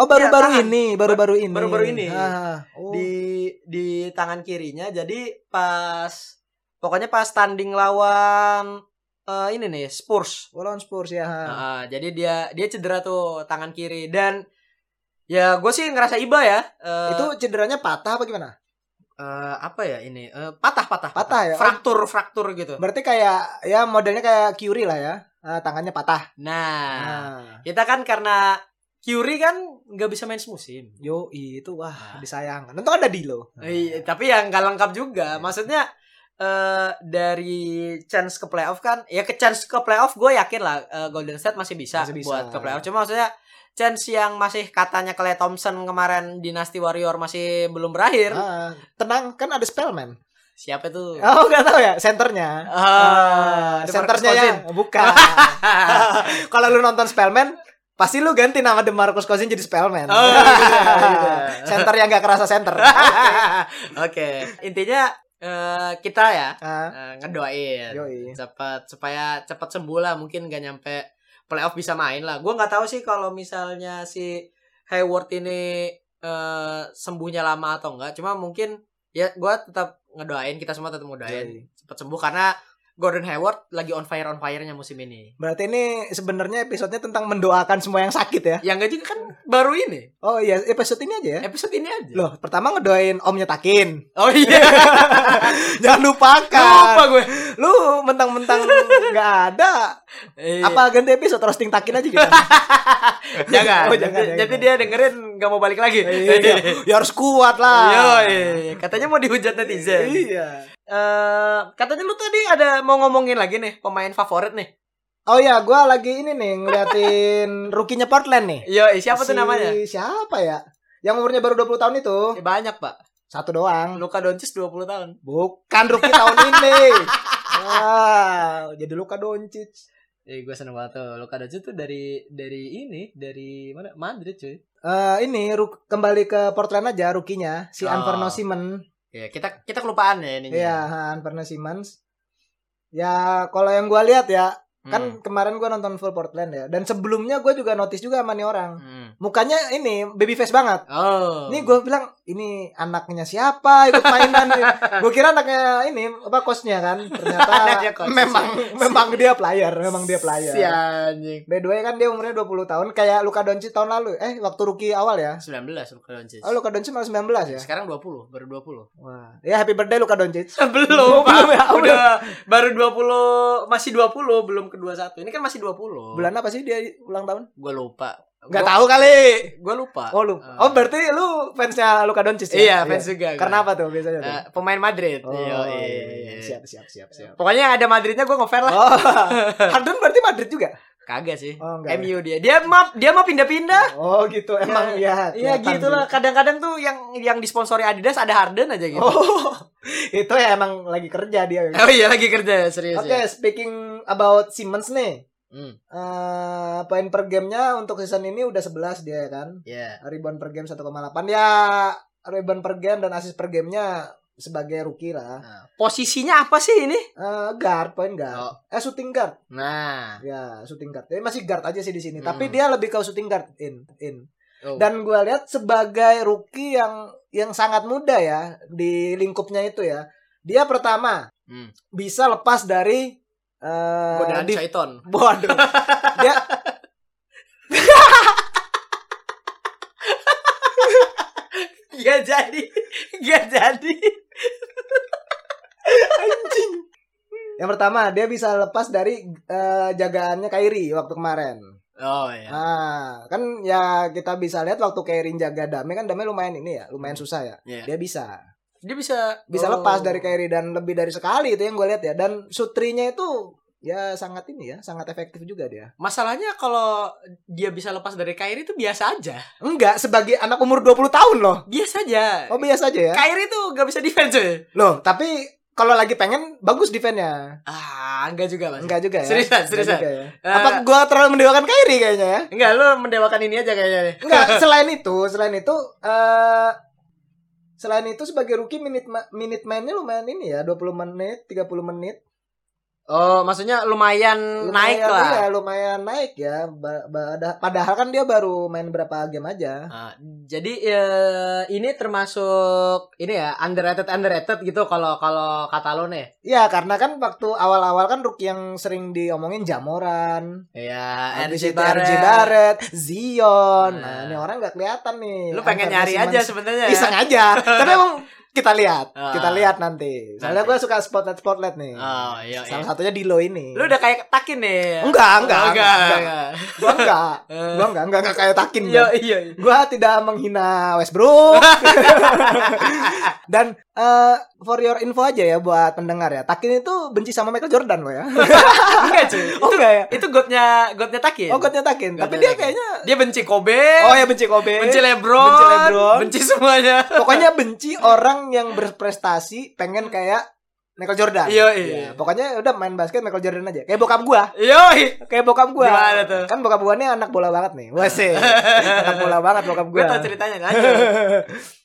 S2: Oh, baru-baru ini, baru-baru ini.
S1: Iya, baru-baru ini.
S2: Ah, oh.
S1: Di di tangan kirinya. Jadi pas pokoknya pas tanding lawan eh, ini nih Spurs.
S2: Oh, lawan Spurs ya. ha.
S1: Heeh, jadi dia dia cedera tuh tangan kiri dan ya gue sih ngerasa iba ya. Eh,
S2: Itu cederanya patah apa gimana?
S1: eh, apa ya ini Eh, patah patah
S2: Patah ya?
S1: fraktur fraktur gitu.
S2: Berarti kayak ya modelnya kayak Curry lah ya. Ah, tangannya patah.
S1: Nah,
S2: Ah.
S1: kita kan karena Curry kan nggak bisa main semusim.
S2: Yo, itu wah
S1: Ah.
S2: disayangkan. Tentu ada di lo.
S1: Iya, tapi ya nggak lengkap juga.
S2: Iya.
S1: Maksudnya eh dari chance ke playoff kan, ya ke chance ke playoff gue yakin lah eh, Golden State masih bisa,
S2: Masih bisa.
S1: buat ke playoff. Cuma maksudnya chance yang masih katanya Klay Thompson kemarin Dynasty Warrior masih belum berakhir.
S2: Ah, tenang, kan ada Spellman.
S1: Siapa tuh?
S2: Oh, nggak tahu ya, senternya. Ah, senternya
S1: ya.
S2: yang bukan. Kalau lu nonton Spellman, pasti lu ganti nama DeMarcus Cousins jadi Spellman.
S1: Oh, gitu ya, gitu ya.
S2: Center yang gak kerasa center.
S1: Oke, intinya eh, kita ya
S2: Ah,
S1: eh, ngedoain.
S2: yoi.
S1: cepat supaya cepat sembuh lah mungkin gak nyampe playoff bisa main lah gue nggak tahu sih kalau misalnya si Hayward ini eh, sembuhnya lama atau enggak cuma mungkin ya gue tetap ngedoain kita semua tetap ngedoain
S2: Yoi.
S1: cepat sembuh karena Gordon Hayward lagi on fire on fire-nya musim ini
S2: Berarti ini sebenarnya episodenya tentang mendoakan semua yang sakit ya.
S1: yang gak juga kan baru ini
S2: Oh iya, episode ini aja ya.
S1: episode ini aja
S2: Loh, pertama ngedoain omnya Takin.
S1: oh iya
S2: Jangan lupakan.
S1: lupa gue
S2: Lu mentang-mentang nggak ada,
S1: Eh,
S2: apa ganti episode roasting Takin aja gitu.
S1: jangan,
S2: Oh, jangan,
S1: Nanti-
S2: jangan.
S1: nanti dia dengerin nggak mau balik lagi
S2: Iya, ya harus kuat lah.
S1: Yoi, katanya mau dihujat netizen
S2: Iya.
S1: eh katanya lu tadi ada mau ngomongin lagi nih pemain favorit nih.
S2: Oh ya, gua lagi ini nih ngeliatin rukinya Portland nih.
S1: Yo, Iya, siapa tuh
S2: Si-
S1: namanya?
S2: Siapa ya? Yang umurnya baru 20 tahun itu.
S1: Eh, Banyak, Pak.
S2: Satu doang.
S1: Luka Doncic 20 tahun.
S2: Bukan rookie tahun ini. Wow, jadi Luka Doncic.
S1: Eh, gue seneng banget tuh. Luka Doncic tuh dari dari ini, dari mana? Madrid, cuy.
S2: Eh ini ruk- kembali ke Portland aja rukinya si
S1: Oh.
S2: Anferno Simmons.
S1: Ya, kita kita kelupaan ya ini.
S2: Iya, ha, Anferno Simmons. Ya, kalau yang gua lihat ya
S1: Hmm.
S2: Kan kemarin gua nonton full Portland ya. Dan sebelumnya gua juga notice juga sama nih orang. Mukanya ini babyface banget.
S1: Hmm. Oh.
S2: Ini gue bilang ini anaknya siapa ikut mainan Gue kira anaknya ini apa kosnya kan
S1: Anaknya
S2: Ternyata
S1: coach.
S2: memang memang dia player Memang dia player
S1: Si anjing.
S2: By the way kan dia umurnya 20 tahun kayak Luka Doncic tahun lalu. Eh, waktu rookie awal ya.
S1: 19 Luka Doncic.
S2: Oh, Luka Doncic malah 19 ya.
S1: Sekarang 20, baru 20.
S2: Wah, ya happy birthday Luka Doncic.
S1: belum, Pak.
S2: Belum ya,
S1: Udah baru 20, masih 20, belum ke 21. Ini kan masih 20.
S2: Bulan apa sih dia ulang tahun?
S1: Gua lupa.
S2: Enggak
S1: Gua-
S2: tahu kali.
S1: Gua lupa.
S2: Oh, lu.
S1: Eh,
S2: Oh, berarti lu fansnya Luka Doncic ya?
S1: Iya, fans juga. gua.
S2: Karena apa tuh biasanya tuh?
S1: Eh, pemain Madrid.
S2: Oh,
S1: Iya,
S2: iya,
S1: iya,
S2: iya.
S1: iya.
S2: siap siap siap siap.
S1: Pokoknya yang ada Madridnya gue ngefans lah.
S2: Oh, Harden berarti Madrid juga.
S1: Kagak sih.
S2: Oh, enggak.
S1: MU dia. Dia mah dia mah pindah-pindah.
S2: Oh, gitu. Emang ya.
S1: Iya
S2: kelihatan
S1: gitu lah. Kadang-kadang tuh yang yang disponsori Adidas ada Harden aja
S2: sih.
S1: gitu.
S2: Oh, itu ya emang lagi kerja dia. Oke,
S1: Oh iya lagi kerja serius ya.
S2: speaking about Simmons nih.
S1: Hmm,
S2: eh poin per gamenya untuk season ini udah 11 dia ya kan
S1: ya.
S2: rebound per game 1,8 ya rebound per game dan assist per gamenya sebagai rookie lah
S1: Nah, posisinya apa sih ini?
S2: Eh guard poin guard
S1: Oh.
S2: eh shooting guard
S1: Nah.
S2: ya shooting guard jadi masih guard aja sih di sini
S1: Hmm.
S2: tapi dia lebih ke shooting guard in in
S1: Oh.
S2: dan gua lihat sebagai rookie yang yang sangat muda ya di lingkupnya itu ya dia pertama
S1: Hmm.
S2: bisa lepas dari eh,
S1: godaan
S2: di-
S1: Shaiton.
S2: Waduh. Dia
S1: Gak jadi. Gak jadi.
S2: Yang pertama, dia bisa lepas dari eh, jagaannya Kyrie waktu kemarin.
S1: Oh iya.
S2: Nah, kan ya kita bisa lihat waktu Kyrie jaga Dame kan Dame lumayan ini ya, lumayan susah ya.
S1: Iya.
S2: Dia bisa,
S1: Dia bisa
S2: bisa
S1: Oh.
S2: lepas dari Kyrie dan lebih dari sekali itu yang gue lihat ya. Dan sutrinya itu ya sangat ini ya, sangat efektif juga dia.
S1: Masalahnya kalau dia bisa lepas dari Kyrie itu biasa aja.
S2: Enggak, sebagai anak umur 20 tahun loh.
S1: Biasa aja.
S2: Oh biasa aja ya.
S1: Kyrie tuh gak bisa defense coy.
S2: Loh, tapi kalau lagi pengen bagus defense-nya.
S1: Ah, enggak juga, Mas. Enggak.
S2: Enggak juga ya.
S1: Seriusan,
S2: Enggak
S1: seriusan.
S2: juga ya.
S1: Eh,
S2: Apa gua terlalu mendewakan Kyrie kayaknya ya?
S1: Enggak, lu mendewakan ini aja kayaknya. nih.
S2: Enggak, selain itu, selain itu eh selain itu sebagai rookie minute ma- minute mainnya lumayan ini ya, 20 menit, 30 menit.
S1: Oh, maksudnya lumayan,
S2: Lumayan,
S1: Hmm, naik lah.
S2: Iya, lumayan naik ya. Ba- ba- ada- padahal kan dia baru main berapa game aja.
S1: Ah, jadi eh, ini termasuk ini ya underrated underrated gitu kalau kalau kata lo nih.
S2: Iya, karena kan waktu awal-awal kan rookie yang sering diomongin Jamoran,
S1: Iya,
S2: habis
S1: RJ
S2: itu RJ
S1: Barrett.
S2: Barrett, Zion.
S1: Nah.
S2: Nah, ini orang nggak kelihatan nih.
S1: Lu pengen
S2: Anthony
S1: nyari aja
S2: Simmons.
S1: sebenarnya. ya?
S2: Iseng aja. Tapi emang kita lihat,
S1: Ah.
S2: kita lihat nanti.
S1: Nanti.
S2: Soalnya gue suka spotlight spotlight nih.
S1: Oh, iya,
S2: Hmm. Salah
S1: iya.
S2: satunya Dilo ini.
S1: Lu udah kayak takin nih.
S2: Enggak, enggak,
S1: Oh,
S2: enggak.
S1: enggak.
S2: Gua enggak.
S1: Eh,
S2: Gua enggak, enggak, enggak kayak Takin.
S1: Iya,
S2: Gua.
S1: iya. iya.
S2: Gua tidak menghina Westbrook. Dan eh, for your info aja ya buat pendengar ya. Takin itu benci sama Michael Jordan loh ya.
S1: Enggak, cuy.
S2: Oh
S1: Itu
S2: enggak ya.
S1: itu godnya godnya takin.
S2: Oh, godnya Takin.
S1: Godnya
S2: Tapi dia
S1: Takin.
S2: kayaknya
S1: Dia benci Kobe.
S2: Oh ya benci Kobe.
S1: Benci Lebron,
S2: Benci LeBron.
S1: benci semuanya.
S2: Pokoknya benci orang yang berprestasi pengen kayak Michael Jordan.
S1: Iya, iya.
S2: Ya, pokoknya udah main basket Michael Jordan aja. Kayak bokap gua.
S1: Yoi,
S2: Kayak bokap gua.
S1: Gimana tuh?
S2: Kan bokap gua nih anak bola banget nih. Wah sih. anak bola banget bokap
S1: gue
S2: gua.
S1: tau ceritanya lanjut.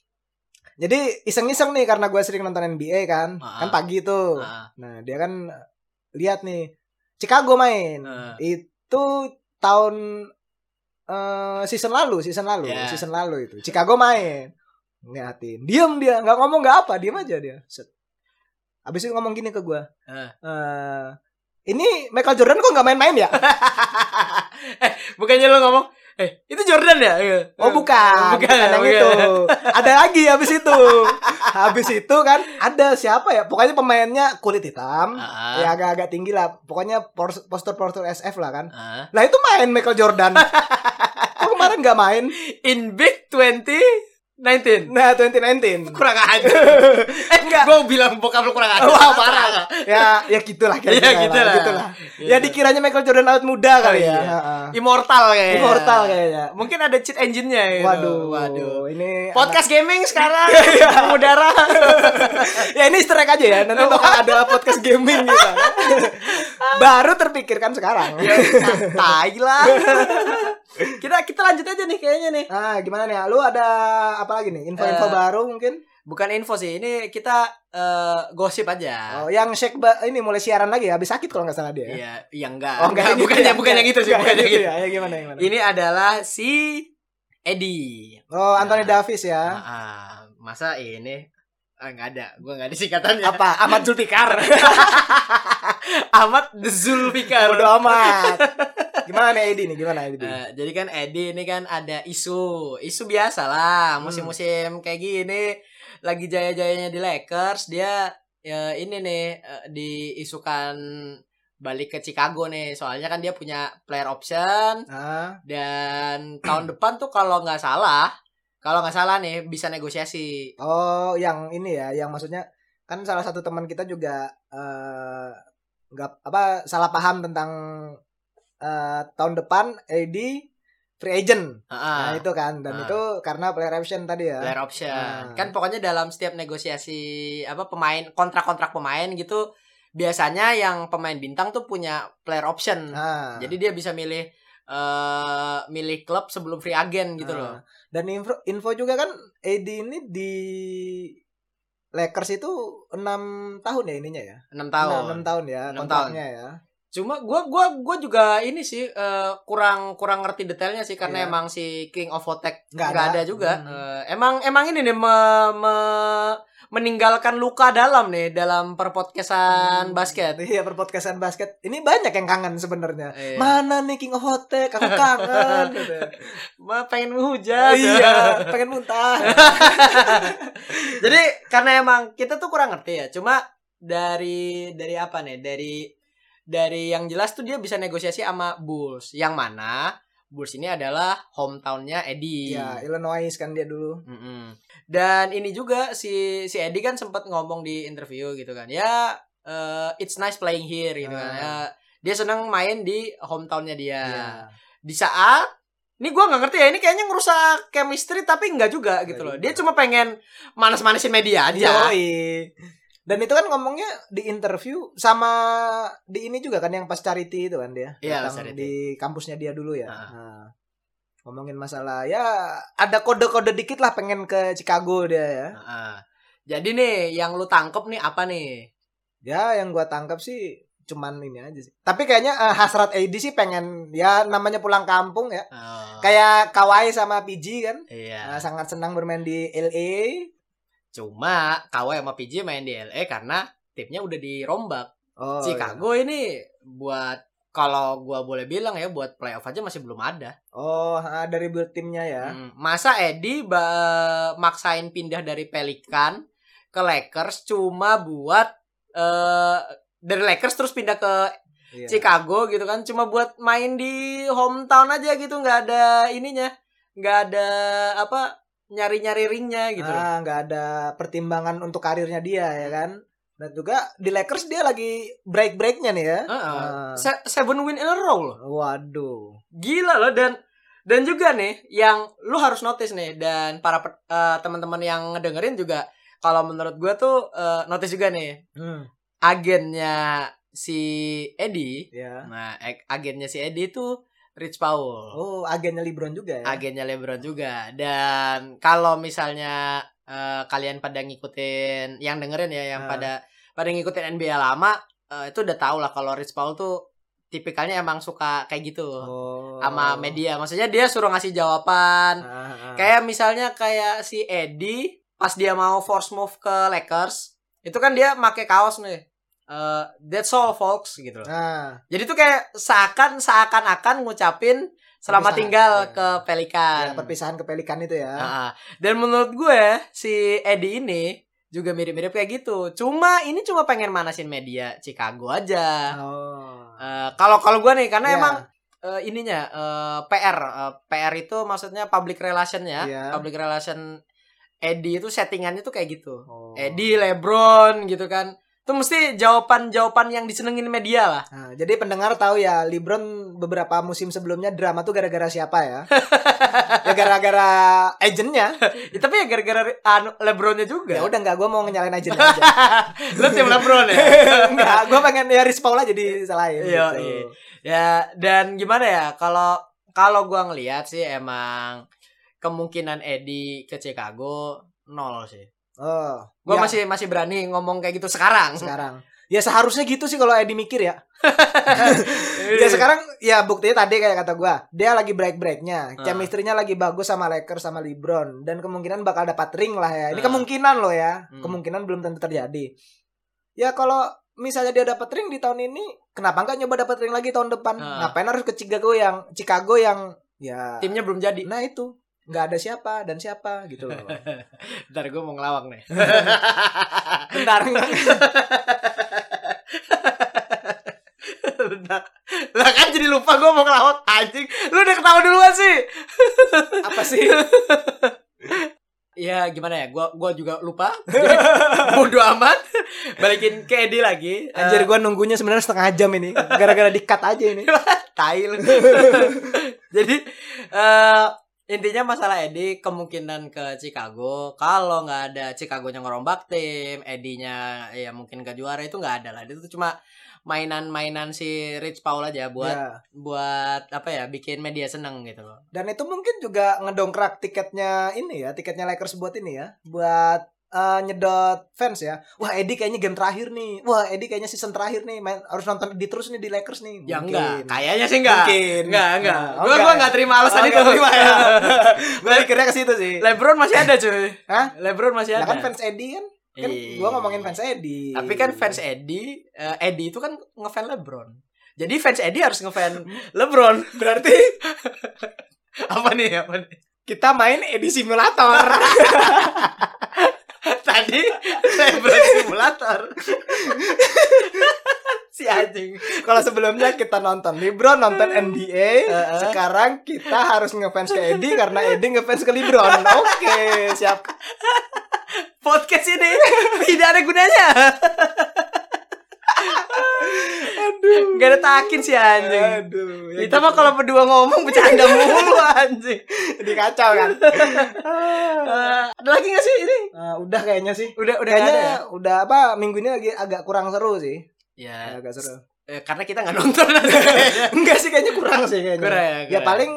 S2: Jadi iseng-iseng nih karena gua sering nonton NBA kan.
S1: Ah.
S2: Kan pagi tuh.
S1: Ah,
S2: Nah, dia kan lihat nih Chicago main.
S1: ah.
S2: Itu tahun eh, season lalu, season lalu,
S1: Ya.
S2: season lalu itu. Chicago main. Ngeliatin. Diam dia, nggak ngomong nggak apa, diam aja dia. Set. Habis itu ngomong gini ke gua.
S1: Ah.
S2: Eh, ini Michael Jordan kok nggak main-main ya?
S1: eh, bukannya lo ngomong, eh itu Jordan ya? Iya.
S2: Oh bukan,
S1: bukan,
S2: bukan, yang
S1: bukan.
S2: itu. Ada lagi habis itu. habis itu kan ada siapa ya? Pokoknya pemainnya kulit hitam.
S1: Ah,
S2: Ya agak-agak tinggi lah. Pokoknya pors- postur-postur SF lah kan.
S1: ah.
S2: Lah itu main Michael Jordan. Kok kemarin nggak main?
S1: In Big 2019
S2: Nah 2019.
S1: kurang aja. eh enggak, gue bilang bokap lu kurang aja.
S2: Wah,
S1: parah.
S2: Ya ya gitulah kira-kira.
S1: Ya, gitulah.
S2: lah, gitulah.
S1: Gitu.
S2: Ya dikiranya Michael Jordan awet muda
S1: Oh,
S2: kali ya.
S1: iya.
S2: Heeh.
S1: Immortal kayaknya.
S2: Immortal kayaknya.
S1: Mungkin ada cheat engine-nya. gitu.
S2: Waduh, Iya,
S1: waduh.
S2: Ini
S1: Podcast gaming sekarang mengudara.
S2: ya ini easter egg aja ya nanti bakal ada podcast gaming gitu baru terpikirkan sekarang
S1: Iya. Tai lah. kita kita lanjut aja nih kayaknya nih.
S2: ah gimana nih lu ada apa lagi nih info-info
S1: Eh,
S2: baru mungkin
S1: Bukan info sih, ini kita eh, gosip aja.
S2: Oh, yang Sheikh Ba- ini mulai siaran lagi ya, habis sakit kalau nggak salah dia. ya?
S1: Iya, yang enggak.
S2: Oh, enggak,
S1: bukan yang bukan yang itu sih, Iya.
S2: Enggak,
S1: bukan yang
S2: gitu
S1: itu.
S2: ya. Ya, gimana gimana?
S1: Ini adalah si Edi.
S2: Oh, Anthony
S1: Nah.
S2: Davis ya.
S1: Ah, masa ini Ah, nggak ada, gue nggak ada singkatannya.
S2: Apa? Ahmad Zulfikar.
S1: Ahmad Zulfikar.
S2: Bodo amat. Gimana nih Edi nih? Gimana Edi?
S1: Eh, jadi kan Edi ini kan ada isu, isu biasa
S2: Hmm.
S1: lah, musim-musim kayak gini lagi jaya-jayanya di Lakers, dia ya, ini nih eh, diisukan balik ke Chicago nih, soalnya kan dia punya player option
S2: Ah,
S1: dan tahun depan tuh kalau nggak salah, kalau nggak salah nih bisa negosiasi.
S2: oh, yang ini ya, yang maksudnya kan salah satu teman kita juga eh, nggak apa salah paham tentang eh, tahun depan Edi free agent. Nah,
S1: Heeh.
S2: itu kan dan
S1: Ah.
S2: itu karena player option tadi ya.
S1: player option.
S2: Ah.
S1: Kan pokoknya dalam setiap negosiasi apa pemain kontrak-kontrak pemain gitu biasanya yang pemain bintang tuh punya player option.
S2: Nah.
S1: Jadi dia bisa milih eh milih klub sebelum free agent gitu
S2: Ah.
S1: loh.
S2: Dan info info juga kan AD ini di Lakers itu 6 tahun ya ininya ya.
S1: enam
S2: 6,
S1: tahun.
S2: tahun ya
S1: Enam
S2: kontraknya ya.
S1: Cuma gua gua gua juga ini sih eh, kurang kurang ngerti detailnya sih karena
S2: Iya.
S1: emang si King of Otek
S2: Nggak
S1: nggak
S2: ada.
S1: ada. juga.
S2: Hmm.
S1: Eh, emang emang ini nih me- me- meninggalkan luka dalam nih dalam perpodcastan basket.
S2: Iya, perpodcastan basket. Ini banyak yang kangen sebenarnya.
S1: Iya.
S2: Mana nih King of Hotek? Aku kangen. gitu.
S1: Ma, pengen hujan.
S2: iya, pengen muntah.
S1: Iya. Jadi karena emang kita tuh kurang ngerti ya. Cuma dari dari apa nih? Dari dari yang jelas tuh dia bisa negosiasi sama Bulls. Yang mana Bulls ini adalah hometownnya Eddie.
S2: Iya, Illinois kan dia dulu.
S1: Mm-mm. Dan ini juga si si Eddie kan sempat ngomong di interview gitu kan. Ya eh, it's nice playing here gitu kan.
S2: Ah.
S1: Ya, dia senang main di hometownnya dia.
S2: Iya.
S1: Di saat ini gua nggak ngerti ya ini kayaknya ngerusak chemistry tapi nggak juga gitu
S2: Nggak
S1: loh.
S2: juga. oh
S1: Dia cuma pengen manas-manasin media aja.
S2: Yoi. Iya. Dan itu kan ngomongnya di interview sama di ini juga kan yang pas charity itu kan dia.
S1: Iya, pas
S2: Datang
S1: charity.
S2: di kampusnya dia dulu ya.
S1: Ah.
S2: Nah, ngomongin masalah ya ada kode-kode dikit lah pengen ke Chicago dia ya.
S1: Heeh. Jadi nih yang lu tangkep nih apa nih?
S2: Ya yang gua tangkap sih cuman ini aja sih. Tapi kayaknya eh, hasrat AD sih pengen ya namanya pulang kampung ya. Kayak Kawhi sama PG kan.
S1: iya.
S2: Nah, sangat senang bermain di LA.
S1: Cuma Kawhi sama PJ main di LA karena timnya udah dirombak.
S2: Oh, iya.
S1: Chicago ini buat kalau gua boleh bilang ya buat playoff aja masih belum ada.
S2: Oh, ah, dari build timnya ya.
S1: Hmm, Masa Eddie ba- maksain pindah dari Pelican ke Lakers cuma buat eh dari Lakers terus pindah ke
S2: Iya.
S1: Chicago gitu kan cuma buat main di hometown aja gitu nggak ada ininya nggak ada apa nyari-nyari ringnya gitu loh. Hmm.
S2: Ah, nggak ada pertimbangan untuk karirnya dia ya kan. Dan juga di Lakers dia lagi break breaknya nih ya.
S1: Heeh.
S2: Ah.
S1: Se- seven win in a row loh
S2: Waduh.
S1: gila loh dan dan juga nih yang lu harus notice nih dan para pe- eh, teman-teman yang ngedengerin juga kalau menurut gua tuh eh, notice juga nih
S2: Hmm.
S1: agennya si Eddie
S2: Ya.
S1: nah ag- agennya si Eddie tuh Rich Paul
S2: Oh, agennya LeBron juga ya.
S1: agennya LeBron juga. Dan kalau misalnya eh, kalian pada ngikutin yang dengerin ya yang
S2: Ah.
S1: pada pada ngikutin NBA lama eh, itu udah tau lah kalau Rich Paul tuh tipikalnya emang suka kayak gitu
S2: Oh.
S1: sama media. Maksudnya dia suruh ngasih jawaban.
S2: Ah, ah.
S1: Kayak misalnya kayak si Eddie pas dia mau force move ke Lakers, itu kan dia make kaos nih. Eh, that's all folks gitu loh.
S2: Nah,
S1: Jadi tuh kayak seakan seakan akan ngucapin selamat
S2: Perpisahan,
S1: tinggal
S2: iya.
S1: ke Pelikan.
S2: ya, perpisahan ke Pelikan itu ya.
S1: Ah, ah. Dan menurut gue si Eddie ini juga mirip-mirip kayak gitu. Cuma ini cuma pengen manasin media Chicago aja.
S2: Oh.
S1: Eh, Kalau kalau gue nih karena
S2: Ya.
S1: emang eh, ininya eh, PR Eh, PR itu maksudnya public relation ya.
S2: Iya.
S1: Public relation Eddie itu settingannya tuh kayak gitu.
S2: Oh.
S1: Eddie, LeBron gitu kan. Itu mesti jawaban-jawaban yang disenengin media lah.
S2: Nah, jadi pendengar tahu ya LeBron beberapa musim sebelumnya drama tuh gara-gara siapa ya? ya gara-gara agentnya.
S1: Ya, tapi ya gara-gara anu, LeBronnya juga.
S2: Ya udah nggak gue mau nyalain agentnya aja.
S1: Lu tim LeBron ya.
S2: Enggak, gue pengen ya Rich Paul aja
S1: Iya,
S2: disalahin gitu.
S1: iya. Ya dan gimana ya kalau kalau gua ngelihat sih emang kemungkinan Eddie ke Chicago nol sih.
S2: Oh,
S1: Gue
S2: ya,
S1: masih masih berani ngomong kayak gitu sekarang.
S2: sekarang. Ya seharusnya gitu sih kalau Edi mikir ya.
S1: Iya
S2: Ya sekarang ya buktinya tadi kayak kata gua, dia lagi break-breaknya.
S1: Ah.
S2: Chemistry-nya lagi bagus sama Lakers sama LeBron dan kemungkinan bakal dapat ring lah ya. Ini
S1: Ah.
S2: kemungkinan loh ya.
S1: Hmm.
S2: Kemungkinan belum tentu terjadi. Ya kalau misalnya dia dapat ring di tahun ini, kenapa nggak nyoba dapat ring lagi tahun depan?
S1: Ah.
S2: Ngapain harus ke Chicago yang Chicago yang ya
S1: timnya belum jadi.
S2: Nah itu nggak ada siapa dan siapa gitu loh.
S1: Ntar gue mau ngelawak nih.
S2: Bentar.
S1: Bentar. Lah kan jadi lupa gue mau ngelawak anjing. Lu udah ketawa duluan sih.
S2: Apa sih?
S1: Ya gimana ya? Gua gua juga lupa. Jadi, Bodoh amat. Balikin ke Edi lagi.
S2: Anjir gua nunggunya sebenarnya setengah jam ini gara-gara di-cut aja ini.
S1: tai lu. Jadi eh intinya masalah Edi kemungkinan ke Chicago. Kalau nggak ada Chicago yang ngerombak tim, Edinya ya mungkin ke juara itu nggak ada lah. Itu cuma mainan-mainan si Rich Paul aja buat
S2: Ya.
S1: buat apa ya bikin media seneng gitu loh.
S2: Dan itu mungkin juga ngedongkrak tiketnya ini ya, tiketnya Lakers buat ini ya, buat eh, nyedot fans ya. Wah, Edi kayaknya game terakhir nih. Wah, Edi kayaknya season terakhir nih. Main, harus nonton di terus nih di Lakers nih.
S1: Ya
S2: Mungkin.
S1: enggak, kayaknya sih enggak.
S2: Mungkin.
S1: Enggak, enggak.
S2: Nah, oh,
S1: gua gua enggak terima alasan
S2: Oh,
S1: itu.
S2: enggak terima ya. Gua mikirnya ke situ sih.
S1: LeBron masih ada, cuy.
S2: Hah?
S1: LeBron masih
S2: Nah,
S1: ada.
S2: kan fans Edi kan? Kan gua ngomongin fans
S1: iya
S2: Edi.
S1: Tapi kan fans Eddie, eh, Eddie itu kan ngefans LeBron. Jadi fans Eddie harus ngefans LeBron. Berarti apa nih? Apa nih?
S2: kita main Edi simulator.
S1: Tadi LeBron simulator. si anjing.
S2: Kalau sebelumnya kita nonton LeBron, nonton NBA,
S1: Heeh.
S2: sekarang kita harus ngefans ke Edi karena Edi ngefans ke LeBron. Oke, siap.
S1: Podcast ini tidak ada gunanya.
S2: Aduh.
S1: Gak ada takin si anjing.
S2: Aduh. ya
S1: Kita
S2: gitu.
S1: mah kalau berdua ngomong bercanda mulu anjing.
S2: jadi kacau kan.
S1: Eh, ada lagi gak sih ini?
S2: Nah, udah kayaknya sih.
S1: Udah udah gak
S2: kayaknya
S1: ada ya?
S2: udah apa minggu ini lagi agak kurang seru sih.
S1: Ya,
S2: Agak seru.
S1: eh, karena kita nggak nonton.
S2: Enggak sih kayaknya ya, kurang sih kayaknya.
S1: Kurang ya,
S2: Ya
S1: kurang.
S2: paling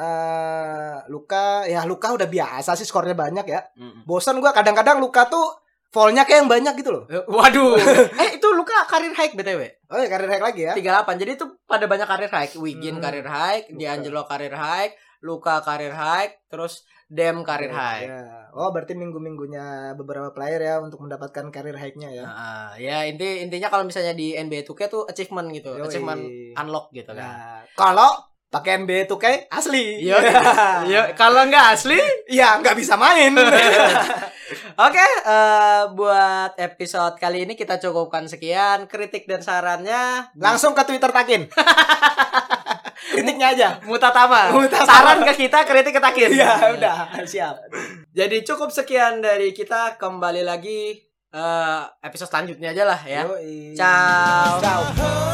S2: eh Luka ya Luka udah biasa sih skornya banyak ya.
S1: Mm-mm.
S2: Bosan gua kadang-kadang Luka tuh Fallnya kayak yang banyak gitu loh.
S1: Eh, Waduh. eh itu Luka karir high btw.
S2: Oh ya karir hack lagi ya.
S1: 38. Jadi itu pada banyak karir high. Wigin
S2: Hmm.
S1: karir high, D'Angelo karir high, Luka karir high, terus Dem karir high.
S2: Ya. Oh berarti minggu-minggunya beberapa player ya untuk mendapatkan karir hacknya ya.
S1: Nah, ya inti intinya kalau misalnya di NBA 2K tuh achievement gitu,
S2: Yoi.
S1: achievement unlock gitu kan. Iya.
S2: Nah, kalau pakai NBA 2K asli. Iya.
S1: Yo, yo, kalau nggak asli,
S2: Ya nggak bisa main.
S1: Oke, eh, buat episode kali ini kita cukupkan sekian. Kritik dan sarannya
S2: Langsung ke Twitter takin. Kritiknya aja.
S1: mutatama.
S2: Mutatama.
S1: Saran ke kita, kritik ke Takin.
S2: Iya udah siap.
S1: Jadi cukup sekian dari kita. Kembali lagi eh, episode selanjutnya aja lah ya.
S2: Yoi.
S1: Ciao.
S2: Ciao.